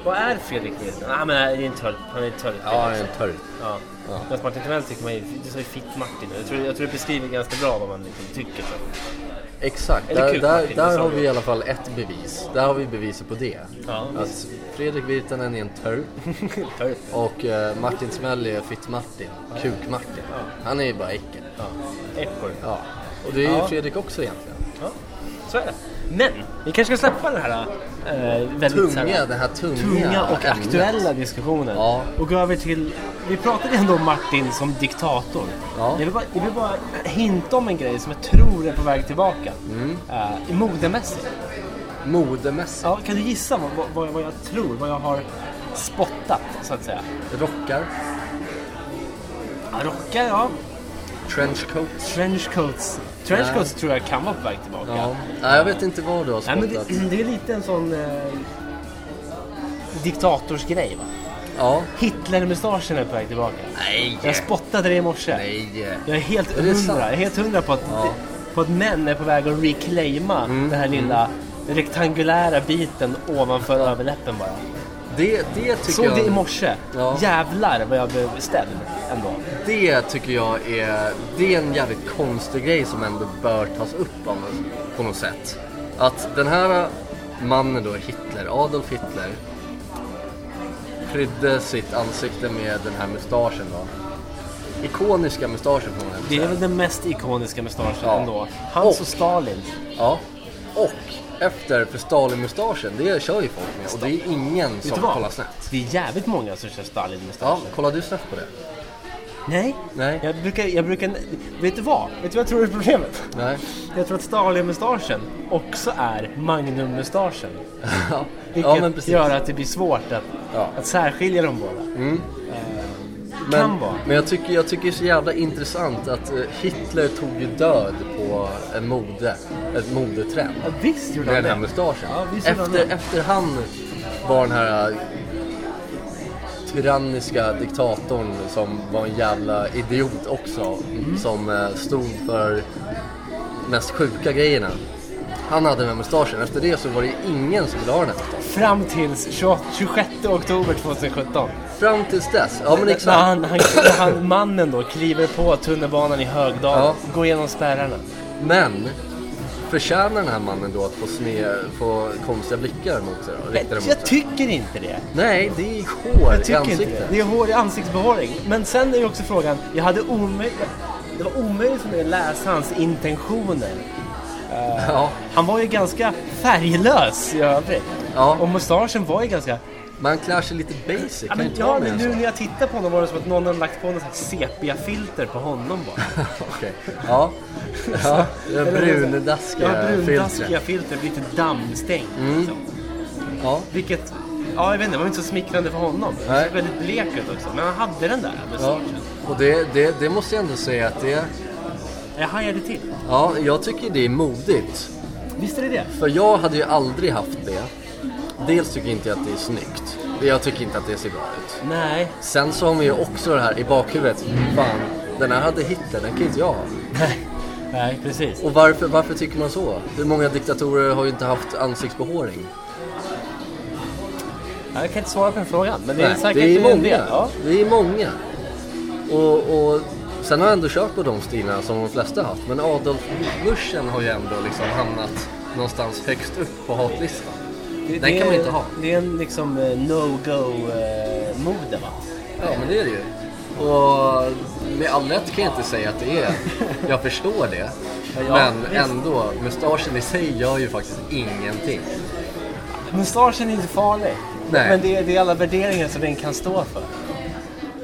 S1: vad är Fredrik Nilsson? Ah, men det är en tölp. Han är en tölp.
S2: Ja, en tölp.
S1: Ja.
S2: Ja.
S1: Medan Martin Timell tycker man ju, du sa ju fitt Martin. Jag tror, jag tror det beskriver ganska bra vad man liksom tycker. Så.
S2: Exakt,
S1: Eller
S2: där,
S1: kuk,
S2: där,
S1: Martin, det
S2: där
S1: sa
S2: har
S1: du.
S2: vi i alla fall ett bevis. Där har vi beviset på det.
S1: Ja.
S2: Att Fredrik Virtanen är en tölp
S1: Tölp.
S2: och eh, Martin Smäll är Fitt-Martin, Kuk-Martin. Han är ju bara äckel.
S1: Ja. Ekorre.
S2: Ja. Och det är ju
S1: Ja.
S2: Fredrik också egentligen.
S1: Ja. så är det. Men vi kanske ska släppa den här eh, väldigt så
S2: Tunga,
S1: här,
S2: den här tunga
S1: tunga och
S2: ämnet.
S1: aktuella diskussionen.
S2: Ja.
S1: Och gå över till, vi pratade ändå om Martin som diktator.
S2: Ja.
S1: Jag, vill bara, jag vill bara hinta om en grej som jag tror är på väg tillbaka.
S2: Mm.
S1: Eh, modemässigt.
S2: Modemässigt.
S1: Ja, kan du gissa vad, vad- vad, vad jag tror, vad jag har spottat så att säga?
S2: Rockar.
S1: Ja, rockar, ja.
S2: Trenchcoat.
S1: Trenchcoats. Trenchcoats tror jag kan vara på väg tillbaka.
S2: Ja. Nej, jag vet inte vad du har
S1: Nej, men
S2: spottat.
S1: det, det är lite en sån eh, diktatorsgrej va?
S2: Ja.
S1: Hitlermustaschen är på väg tillbaka.
S2: Nej.
S1: Jag spottade det i morse.
S2: Nej.
S1: Jag är helt
S2: Är det
S1: hundra,
S2: sant?
S1: jag är helt hundra på att,
S2: Ja. Mm,
S1: på att män är på väg att reclaima den här lilla rektangulära biten ovanför överläppen bara.
S2: Det, det tycker
S1: Såg
S2: jag...
S1: det i morse.
S2: Ja.
S1: Jävlar vad jag blev ställd ändå.
S2: Det tycker jag är, det är en jävligt konstig grej som ändå bör tas upp av, på något sätt. Att den här mannen då, Hitler, Adolf Hitler, prydde sitt ansikte med den här mustaschen då. Ikoniska mustaschen får man ändå
S1: Det är
S2: säga.
S1: väl den mest ikoniska mustaschen
S2: Ja.
S1: ändå. Hans
S2: Och-
S1: och Stalin.
S2: Ja. Och efter, för Stalin-mustaschen, det kör ju folk med. Och det är ingen
S1: Vet
S2: som
S1: du vad?
S2: kollar snett.
S1: Det är jävligt många som kör Stalin-mustasch.
S2: Ja, kollar du snett på det?
S1: Nej.
S2: Nej.
S1: Jag brukar, jag brukar... Vet du vad? Vet du vad jag tror är problemet?
S2: Nej.
S1: Jag tror att Stalin-mustaschen också är Magnum-mustaschen.
S2: ja,
S1: Vilket
S2: men precis.
S1: gör att det blir svårt att,
S2: Ja. Mm.
S1: att särskilja de båda. Det
S2: Men,
S1: kan vara.
S2: men jag, tycker, jag tycker det är så jävla intressant att eh, Hitler tog ju död på en mode, ett modetrend.
S1: Ja, visst gjorde
S2: Med
S1: han
S2: den här
S1: det.
S2: mustaschen.
S1: Ja, visst gjorde han
S2: efter,
S1: det.
S2: efter han var den här eh, tyranniska diktatorn som var en jävla idiot också.
S1: Mm.
S2: Som eh, stod för mest sjuka grejerna. Han hade den här mustaschen. Efter det så var det ju ingen som ville ha den här mustaschen.
S1: Fram tills 28, 26 oktober 2017.
S2: Fram tills dess. Ja men
S1: När
S2: exakt.
S1: han, han, när han, mannen då kliver på tunnelbanan i Högdalen,
S2: Ja.
S1: går igenom spärrarna.
S2: Men förtjänar den här mannen då att få, sne, få konstiga blickar mot sig? Då,
S1: Men
S2: riktade mot
S1: jag
S2: sig?
S1: tycker inte det.
S2: Nej, det är hår
S1: Jag tycker
S2: i
S1: inte det.
S2: ansiktet.
S1: Det är hår i ansiktsbehåring. Men sen är ju också frågan, jag hade omöjligt, det var omöjligt för mig att läsa hans intentioner.
S2: Ja,
S1: Han var ju ganska färglös i övrigt.
S2: Ja.
S1: Och mustaschen var ju ganska...
S2: man klär sig lite basic.
S1: Ja,
S2: kan
S1: men,
S2: inte
S1: ja,
S2: vara
S1: men
S2: med
S1: nu
S2: en
S1: när jag tittar på honom var det som att någon hade lagt på något slags sepia-filter på honom bara.
S2: sån. Okej. Ja. ja. Det
S1: Eller
S2: brundaskiga
S1: Ja, brundaskiga
S2: filtret. Mm.
S1: filter, lite typ dammstängt. Liksom.
S2: Ja.
S1: Vilket, ja jag vet inte, det var inte så smickrande för honom. Han
S2: Nej.
S1: såg väldigt blek ut också. Men han hade den där alltså.
S2: ja.
S1: mustaschen.
S2: Och det, det, det måste jag ändå säga att det...
S1: Jag hajade till.
S2: Ja, jag tycker det är modigt.
S1: Visst är det det?
S2: För jag hade ju aldrig haft det. Dels tycker inte jag att det är snyggt. Jag tycker inte att det ser bra ut.
S1: Nej.
S2: Sen så har man ju också det här i bakhuvudet. Fan, den här hade Hitler, den kan inte jag ha.
S1: Nej, Nej precis.
S2: Och varför, varför tycker man så? Hur många diktatorer har ju inte haft ansiktsbehåring?
S1: Jag kan inte svara på den frågan. Men det är
S2: Nej,
S1: säkert
S2: det är
S1: en
S2: många.
S1: del. Ja.
S2: Det är många. Och, och sen har jag ändå kört på de stilarna som de flesta har haft. Men Adolf Hitlerschen har ju ändå liksom hamnat någonstans högst upp på hatlistan.
S1: Det,
S2: Den
S1: det
S2: kan man
S1: är-
S2: inte ha.
S1: Det är en liksom eh, no-go-mode va?
S2: Ja, men det är det ju. Och med all rätt kan jag inte säga att det är. Jag förstår det.
S1: Ja,
S2: men
S1: visst.
S2: ändå, mustaschen i sig gör ju faktiskt ingenting.
S1: Mustaschen är inte farlig.
S2: Nej.
S1: Men det är, det är alla värderingar som den kan stå för.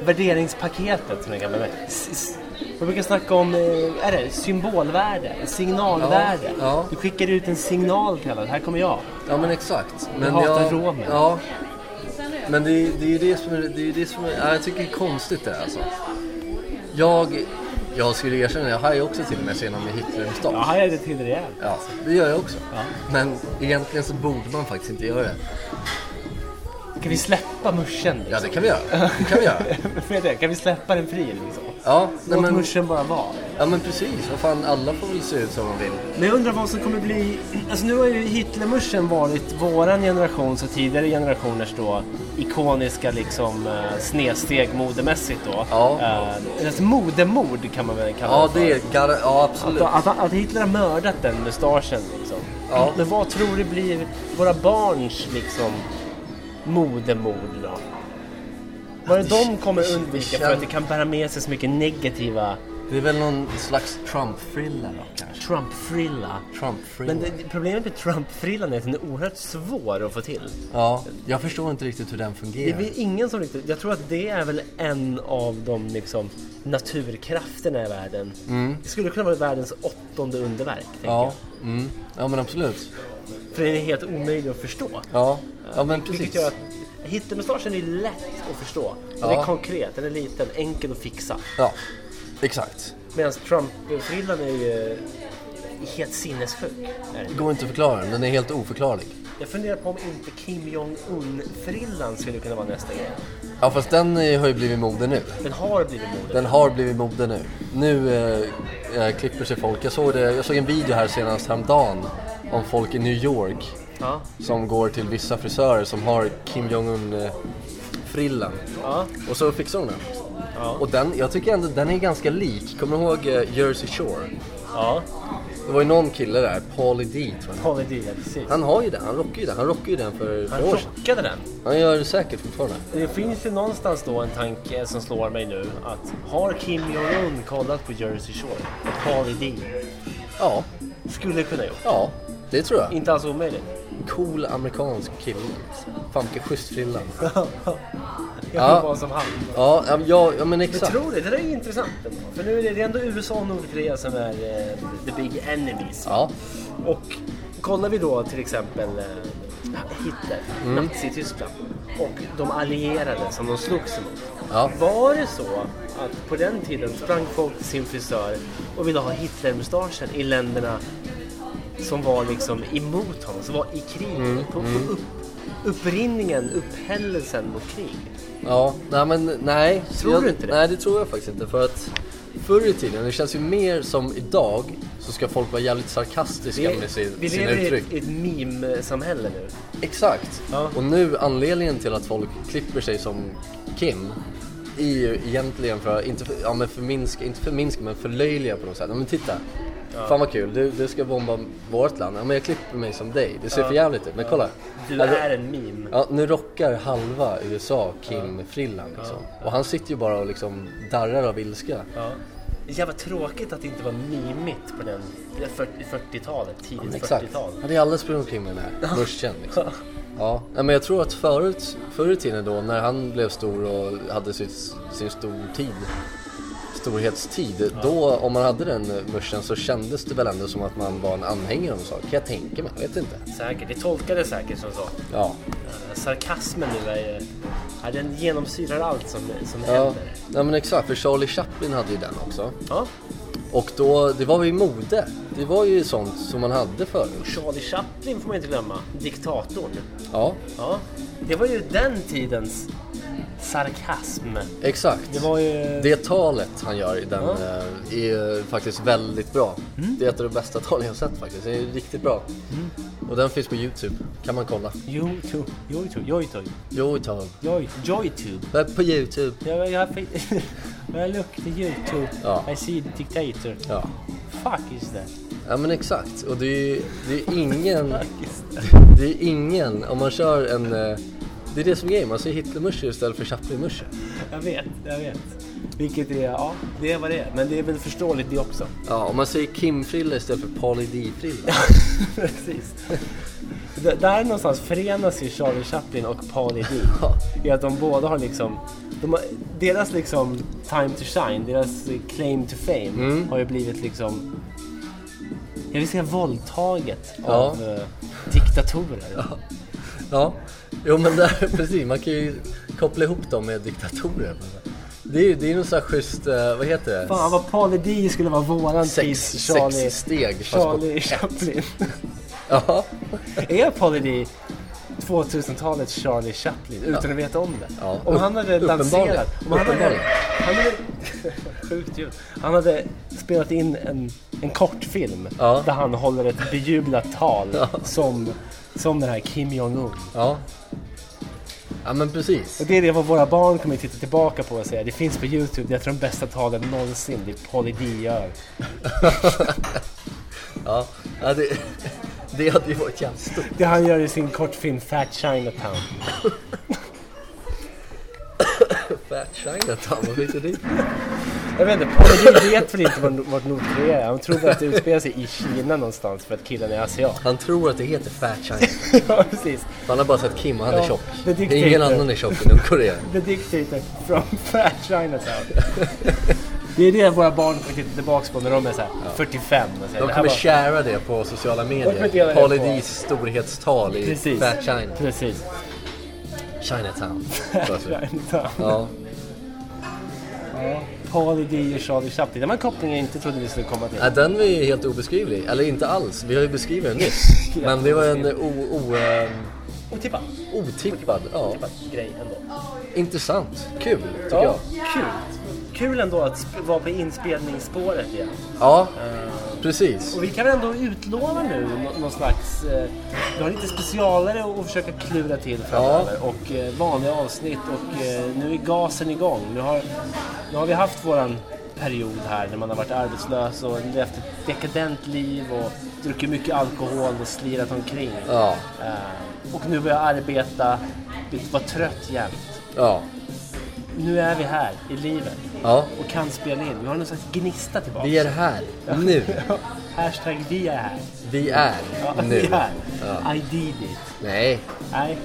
S1: Värderingspaketet som den kan med. Man brukar snacka om eh, är det, symbolvärde, signalvärde.
S2: Ja, ja.
S1: Du skickar ut en signal till alla, här kommer jag.
S2: Ja, men exakt. Men
S1: hatar romer.
S2: Ja. Men det, är- det är ju det som är... Det är ju det som är ja, jag tycker det är konstigt det här, alltså. Jag, jag skulle erkänna, jag hajar också till mig senare med Hitler-mustasch.
S1: Ja, här är det till rejält.
S2: Ja, det gör jag också. Men egentligen så borde man faktiskt inte göra det.
S1: Kan vi släppa muschen?
S2: Ja,
S1: Liksom?
S2: det kan vi göra. Det kan vi göra.
S1: Med det, kan vi släppa den fri? Liksom?
S2: Ja, nej,
S1: Låt
S2: men,
S1: muschen bara vara.
S2: ja, men precis. Vad fan, alla får väl se ut som de vill.
S1: Men jag undrar vad som kommer bli... Alltså nu har ju Hitlermuschen varit våran generations och tidigare generationers då ikoniska liksom eh, snedsteg modemässigt då.
S2: Ja.
S1: Eh, alltså modemord kan man väl kalla
S2: Ja,
S1: för.
S2: det är gar- ja, absolut.
S1: Att, att, att Hitler har mördat den mustaschen liksom.
S2: Ja.
S1: Men vad tror du blir våra barns liksom modemord då? Vad är det
S2: det-
S1: de kommer
S2: det-
S1: undvika
S2: det
S1: för att
S2: kän-
S1: det kan bära med sig så mycket negativa
S2: Det är väl någon slags Trump-frilla då kanske?
S1: Trump-frilla.
S2: Trump-frilla.
S1: Men det, problemet med Trump-frillan är att den är oerhört svår att få till.
S2: Ja, jag förstår inte riktigt hur den
S1: Det är
S2: fungerar.
S1: väl ingen som riktigt... Jag tror att det är väl en av de liksom, naturkrafterna i världen. Det skulle kunna vara världens åttonde underverk. tänker
S2: Mm. Ja, mm. ja men absolut.
S1: jag. För den är helt omöjlig att förstå.
S2: Ja, ja men precis.
S1: Vilket gör att hittemustaschen är lätt att förstå. Den
S2: Ja.
S1: är konkret, den är liten, enkel att fixa.
S2: Ja, exakt.
S1: Medan Trump-frillan är ju helt sinnessjuk. Är den.
S2: Det går inte att förklara den, den är helt oförklarlig.
S1: Jag funderar på om inte Kim Jong-Un-frillan skulle kunna vara nästa grej.
S2: Ja fast den eh, har ju blivit mode nu.
S1: Den har blivit mode.
S2: Den har blivit mode nu. Nu eh, eh, klipper sig folk. Jag såg, det, jag såg en video här senast häromdagen om folk i New York
S1: Ja.
S2: som går till vissa frisörer som har Kim Jong-Un-frillan.
S1: Ja.
S2: Och så fixar hon den.
S1: Ja.
S2: Och den, jag tycker ändå den är ganska lik. Kommer du ihåg eh, Jersey Shore?
S1: ja.
S2: Det var ju någon kille där, Paulie D tror jag.
S1: Paul Edin, precis.
S2: Han har ju den, han rockar ju den. Han rockar ju den för
S1: Han
S2: några år sedan.
S1: chockade den.
S2: Han gör det säkert fortfarande.
S1: Det finns ju någonstans då en tanke som slår mig nu att har Kim Jong-Un kollat på Jersey Shore och Paul Edin
S2: Ja,
S1: skulle kunna gjort.
S2: ja. Det tror jag.
S1: Inte alls omöjligt.
S2: Cool amerikansk kille. Fan vilken schysst frilla.
S1: Jag
S2: Ja.
S1: vill vara som han.
S2: Ja, ja, ja, ja men
S1: Jag
S2: exakt.
S1: tror det, det där är intressant. ändå. För nu är det- det är ändå USA och Nordkorea som är eh, the big enemies.
S2: Ja,
S1: Och kollar vi då till exempel eh, Hitler, Nazityskland och de allierade som de slogs emot.
S2: ja.
S1: Var det så att på den tiden sprang folk till sin frisör och ville ha Hitlermustaschen i länderna som var liksom emot honom, som var i krig?
S2: Mm,
S1: på, på upp, upprinningen, upphällelsen mot krig.
S2: Ja, nej men nej.
S1: Tror
S2: jag,
S1: du inte det?
S2: Nej, det tror jag faktiskt inte. För att förr i tiden, det känns ju mer som idag, så ska folk vara jävligt sarkastiska med sin,
S1: vi
S2: sina
S1: lever i
S2: uttryck.
S1: ett, ett meme-samhälle nu.
S2: Exakt.
S1: Ja.
S2: Och nu anledningen till att folk klipper sig som Kim är ju egentligen för att, inte för, ja, men förminska, inte förminska men förlöjliga på något sätt. Ja, Men titta, fan vad kul, du, du ska bomba vårt land. Ja, men jag klipper mig som dig, det ser för jävligt ut. Men kolla. Alltså-
S1: Du
S2: Ja, det-
S1: är en meme.
S2: Ja, nu rockar halva USA Kim-frillan liksom. Och han sitter ju bara och liksom darrar av ilska.
S1: Ja. Det är jävla tråkigt att det inte var mimigt på den det är 40 40-talet,
S2: Men
S1: tidigt
S2: Exakt.
S1: 40-tal.
S2: Ja, det är alla sprungit omkring med den här börsen liksom. Ja, nej, men jag tror att förut, förr i tiden då när han blev stor och hade sitt, sin stor tid, storhetstid, då om man hade den börsen så kändes det väl ändå som att man var en anhängare av en sak. Kan jag tänka mig, jag vet inte.
S1: Säkert, det tolkades säkert som så.
S2: Ja,
S1: Sarkasmen nu är ju... Ja, den genomsyrar allt som, som
S2: ja.
S1: händer.
S2: Nej, men exakt, för Charlie Chaplin hade ju den också.
S1: Ja.
S2: Och då, det var ju mode. Det var ju sånt som man hade förut.
S1: Charlie Chaplin får man inte glömma. Diktatorn.
S2: Ja,
S1: Ja. Det var ju den tidens sarkasm.
S2: exakt.
S1: Det var ju...
S2: Det talet han gör i den
S1: Ja. Mm.
S2: eh, är ju faktiskt väldigt bra. Det är ett av de bästa talen jag har sett faktiskt. Det är riktigt bra. Och den finns på Youtube. Kan man kolla.
S1: Youtube, Youtube, Youtube,
S2: Youtube.
S1: Youtube, Youtube.
S2: Det är på Youtube.
S1: Jag, jag, fick- jag look to Youtube.
S2: Ja.
S1: I see dictator.
S2: Ja.
S1: Fuck is that?
S2: Ja men exakt. Och det är ju det är ingen... det är ingen... Om man kör en... eh, Det är det som är grejen. Man säger Hitlermusche istället för Chaplin-musche.
S1: Jag vet, jag vet. Vilket är, ja, det är vad det är. Men det är väl förståeligt det också.
S2: Ja, och man säger Kim-frilla istället för Pauli D-frilla.
S1: Precis. D- där någonstans förenas ju Charlie Chaplin och Paul Edin.
S2: Ja.
S1: I att de båda har liksom, de har, deras liksom time to shine, deras eh, claim to fame
S2: Mm.
S1: har ju blivit liksom, jag vill säga våldtaget
S2: Ja.
S1: av eh, diktatorer.
S2: Ja, jo men där, precis. Man kan ju koppla ihop dem med diktatorer. Det är ju det är någon sån här schysst, eh, vad heter det?
S1: Fan vad Paul Edin skulle vara våran
S2: sex,
S1: tids Charlie,
S2: sex steg fast på...
S1: Charlie Chaplin.
S2: Ja,
S1: Är Paul Edin 2000-talets Charlie Chaplin utan att veta om det?
S2: Ja,
S1: Om han hade
S2: uppenbarligen.
S1: danserat... Om han hade,
S2: Uppenbarligen.
S1: han hade, sjukt ljud. Han hade spelat in en, en kortfilm
S2: Ja.
S1: där han håller ett bejublat tal som, som den här Kim Jong-Un.
S2: ja. Ja men precis.
S1: Och det är det vad våra barn kommer att titta tillbaka på och säga det finns på Youtube, det är ett av de bästa talen någonsin, det Paul Edin gör.
S2: Ja, ja det, det hade ju varit jävligt stort.
S1: Det han gör i sin kortfilm Fat Chinatown.
S2: Fat Chinatown, vad fick du dit?
S1: Jag vet inte, Paul Rudd vet väl inte vart- vart Nordkorea är. Han tror väl att det utspelar sig i Kina någonstans för att killen är asiat.
S2: Han tror att det heter Fat China.
S1: ja, precis.
S2: Han har bara sett Kim och han
S1: Ja,
S2: är tjock.
S1: det
S2: Det
S1: tyckte
S2: är ingen
S1: inte.
S2: annan är tjock i Nordkorea.
S1: The Dictator from Fat Chinatown. Det är det våra barn kommer titta tillbaka på när de är så här 45. Och så här,
S2: De
S1: det här
S2: kommer
S1: var-
S2: sharea det på sociala
S1: kommer dela
S2: medier.
S1: det
S2: Paul
S1: på-
S2: Edis storhetstal i
S1: Precis.
S2: Fat China.
S1: Precis.
S2: Chinatown.
S1: Chinatown.
S2: Ja.
S1: Ja. Paul D och Charlie Chaplin. Den här kopplingen jag inte trodde vi skulle komma till.
S2: Ja, den är ju helt obeskrivlig. Eller inte alls, vi har ju beskrivit den nyss. Men det var en o, o, eh,
S1: Otippad
S2: otippad, ja.
S1: typ grej ändå.
S2: Intressant. Kul, tycker
S1: Ja,
S2: jag.
S1: kul. Kul ändå att sp- vara på inspelningsspåret igen.
S2: Ja,
S1: Eh.
S2: precis.
S1: Och vi kan väl ändå utlova nu nå- någon slags... Eh, vi har lite specialare att försöka klura till framöver. Och eh, vanliga avsnitt och eh, nu är gasen igång. Nu har, nu har vi haft våran period här när man har varit arbetslös och levt ett dekadent liv och druckit mycket alkohol och slirat omkring.
S2: Ja,
S1: Eh, och nu börjar jag arbeta, vara trött jämt.
S2: ja,
S1: Nu är vi här i livet
S2: ja.
S1: och kan spela in. Vi har någon slags gnista tillbaka.
S2: Vi är här, nu.
S1: Hashtag vi är här.
S2: Vi är
S1: Ja,
S2: nu.
S1: vi är här.
S2: Ja.
S1: I did it.
S2: Nej,
S1: Nej.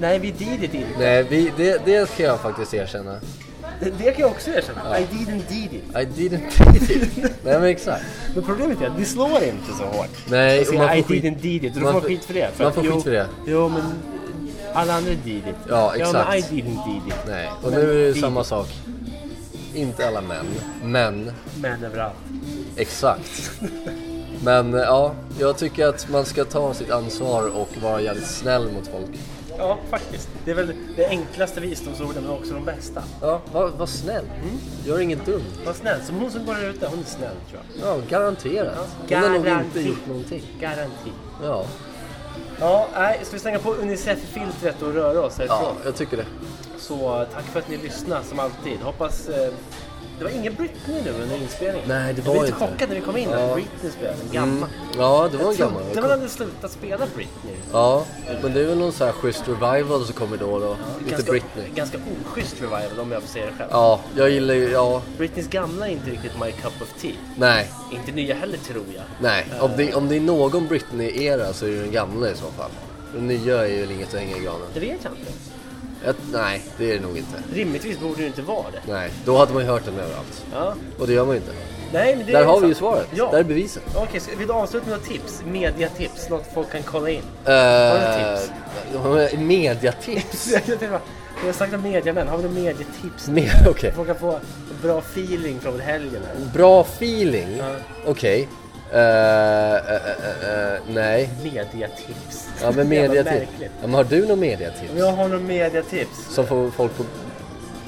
S1: Nej, vi did it inte.
S2: nej vi, det, det ska jag faktiskt erkänna.
S1: Det- Det kan jag också erkänna. I didn't did it.
S2: I didn't did it. Nej men exakt.
S1: Men problemet är att det slår inte så hårt.
S2: Nej,
S1: Jag
S2: och man
S1: säger
S2: får
S1: I
S2: skit-
S1: didn't did it och då får
S2: man
S1: man
S2: får-
S1: skit för det. För
S2: man
S1: att,
S2: får
S1: jo,
S2: skit för det.
S1: Jo, men alla andra did it.
S2: Ja,
S1: Ja, men I
S2: exakt.
S1: didn't did it.
S2: Nej, och
S1: Men
S2: nu är det
S1: did
S2: samma
S1: it.
S2: sak. Inte alla män, men
S1: Män överallt.
S2: Exakt. Men eh, ja, jag tycker att man ska ta sitt ansvar och vara jävligt snäll mot folk.
S1: Ja, faktiskt. Det är väl det enklaste visdomsorden, men också de bästa.
S2: Ja, var, var snäll. Mm. Gör inget dumt.
S1: Var snäll. Som hon som går där ute, hon är snäll tror jag.
S2: Ja, garanterat.
S1: Ja,
S2: Hon har nog inte
S1: garanti.
S2: gjort någonting.
S1: Garanti.
S2: Ja,
S1: Ja, nej, ska vi slänga på Unicef-filtret och röra oss härifrån?
S2: ja jag tycker det.
S1: Så eh, tack för att ni lyssnade som alltid. Hoppas... Eh, det var ingen Britney nu under inspelningen.
S2: Nej, det
S1: Jag
S2: var
S1: blev lite
S2: inte.
S1: chockad när vi kom in
S2: Ja.
S1: att Britney spelade. En gammal.
S2: Mm. Ja, det var en
S1: Jag
S2: gammal.
S1: trodde man hade slutat spela Britney.
S2: Ja, men det är väl någon så här schysst revival som kommer då och då. Lite
S1: ganska,
S2: Britney.
S1: Ganska oschysst revival om jag får säga det själv.
S2: Ja, jag gillar ju, ja,
S1: Britneys gamla är inte riktigt my cup of tea.
S2: nej,
S1: Inte nya heller tror jag.
S2: nej. Om det, om det är någon Britney-era så är det den gamla i så fall. Den nya är ju inget att hänga i granen.
S1: Det vet jag inte.
S2: Jag, nej, det är det nog inte.
S1: Rimligtvis borde det inte vara det.
S2: Nej, då hade man ju hört den överallt.
S1: Ja.
S2: Och det gör man ju inte.
S1: Nej, men det
S2: Där
S1: är
S2: har vi
S1: sant.
S2: ju svaret.
S1: Ja.
S2: Där är beviset.
S1: Okej, ska- vill du avsluta med några tips? Mediatips? Något folk kan kolla in?
S2: Uh, mediatips?
S1: Jag tänkte bara, Vi har sagt om mediamän, har vi några medietips?
S2: Med, okej.
S1: Folk kan få en bra feeling från helgen här.
S2: Bra feeling?
S1: Ja.
S2: Okej. Eh, eh, eh, eh, nej.
S1: Mediatips.
S2: Ja, men
S1: Jävla
S2: mediatips. Ja,
S1: märkligt.
S2: men har du någon mediatips?
S1: Om jag har några mediatips.
S2: Som får folk på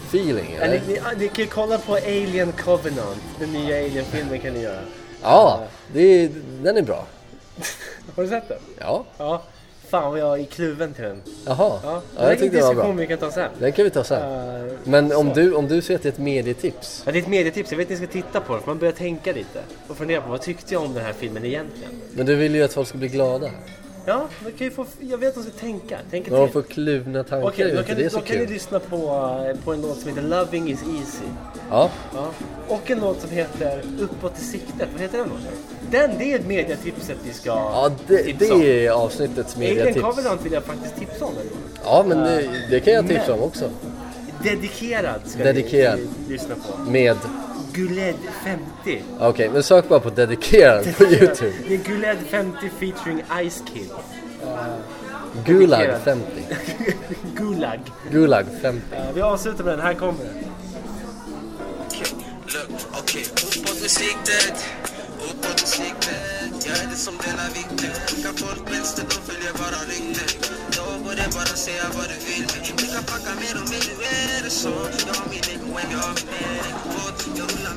S2: feeling
S1: Ja,
S2: eller?
S1: Ni, ni, ah, ni kan ju kolla på Alien Covenant, den nya Alien-filmen kan ni göra.
S2: Ja, det är, den är bra.
S1: Har du sett den?
S2: Ja,
S1: Ja. Fan vad jag är kluven till den.
S2: jaha.
S1: Ja, det
S2: Ja,
S1: är
S2: jag
S1: en
S2: tyckte det var bra.
S1: diskussion vi kan ta sen.
S2: Den kan vi ta sen.
S1: Eh,
S2: Men om
S1: så.
S2: du, om du ser att det är ett medietips?
S1: Ja, det är ett medietips, jag vet att ni ska titta på det för man börjar tänka lite och fundera på vad tyckte jag om den här filmen egentligen?
S2: Men du vill ju att folk ska bli glada.
S1: Ja, man kan ju få, jag vet att de ska tänka, tänka
S2: När de
S1: till.
S2: får kluvna tankar
S1: Okej, då
S2: ute,
S1: kan,
S2: det
S1: du,
S2: är så
S1: då kan
S2: kul.
S1: du lyssna på, eh, på en låt som heter Loving is easy.
S2: Ja,
S1: Ja. Och en låt som heter Uppåt i siktet. Vad heter den låten? Den, det är mediatipset vi ska
S2: ja det,
S1: tipsa
S2: det
S1: om.
S2: är avsnittets
S1: Alien
S2: mediatips.
S1: Covenant vill jag faktiskt tipsa om. den låten.
S2: Ja, men det, det kan jag
S1: Men-
S2: tipsa om också.
S1: Dedikerad ska
S2: Dedikerad.
S1: ni eh, lyssna på.
S2: Med,
S1: Guled 50.
S2: okej, men sök bara på dedikerad på Youtube.
S1: Det är Guled 50 featuring Ice Kid.
S2: Gulag 50.
S1: Gulag.
S2: Gulag 50.
S1: Eh, Vi avslutar med den, här kommer den.
S3: Look, okej. Uppåt med siktet, uppåt med siktet. Jag är det som delar vikten. Skicka folk vänster, de följer bara rykten. Då borde bara säga vad du vill. Skicka packa mer och mer, du är det så. Jag har min egen väg, jag har min egen båt. Jag rullar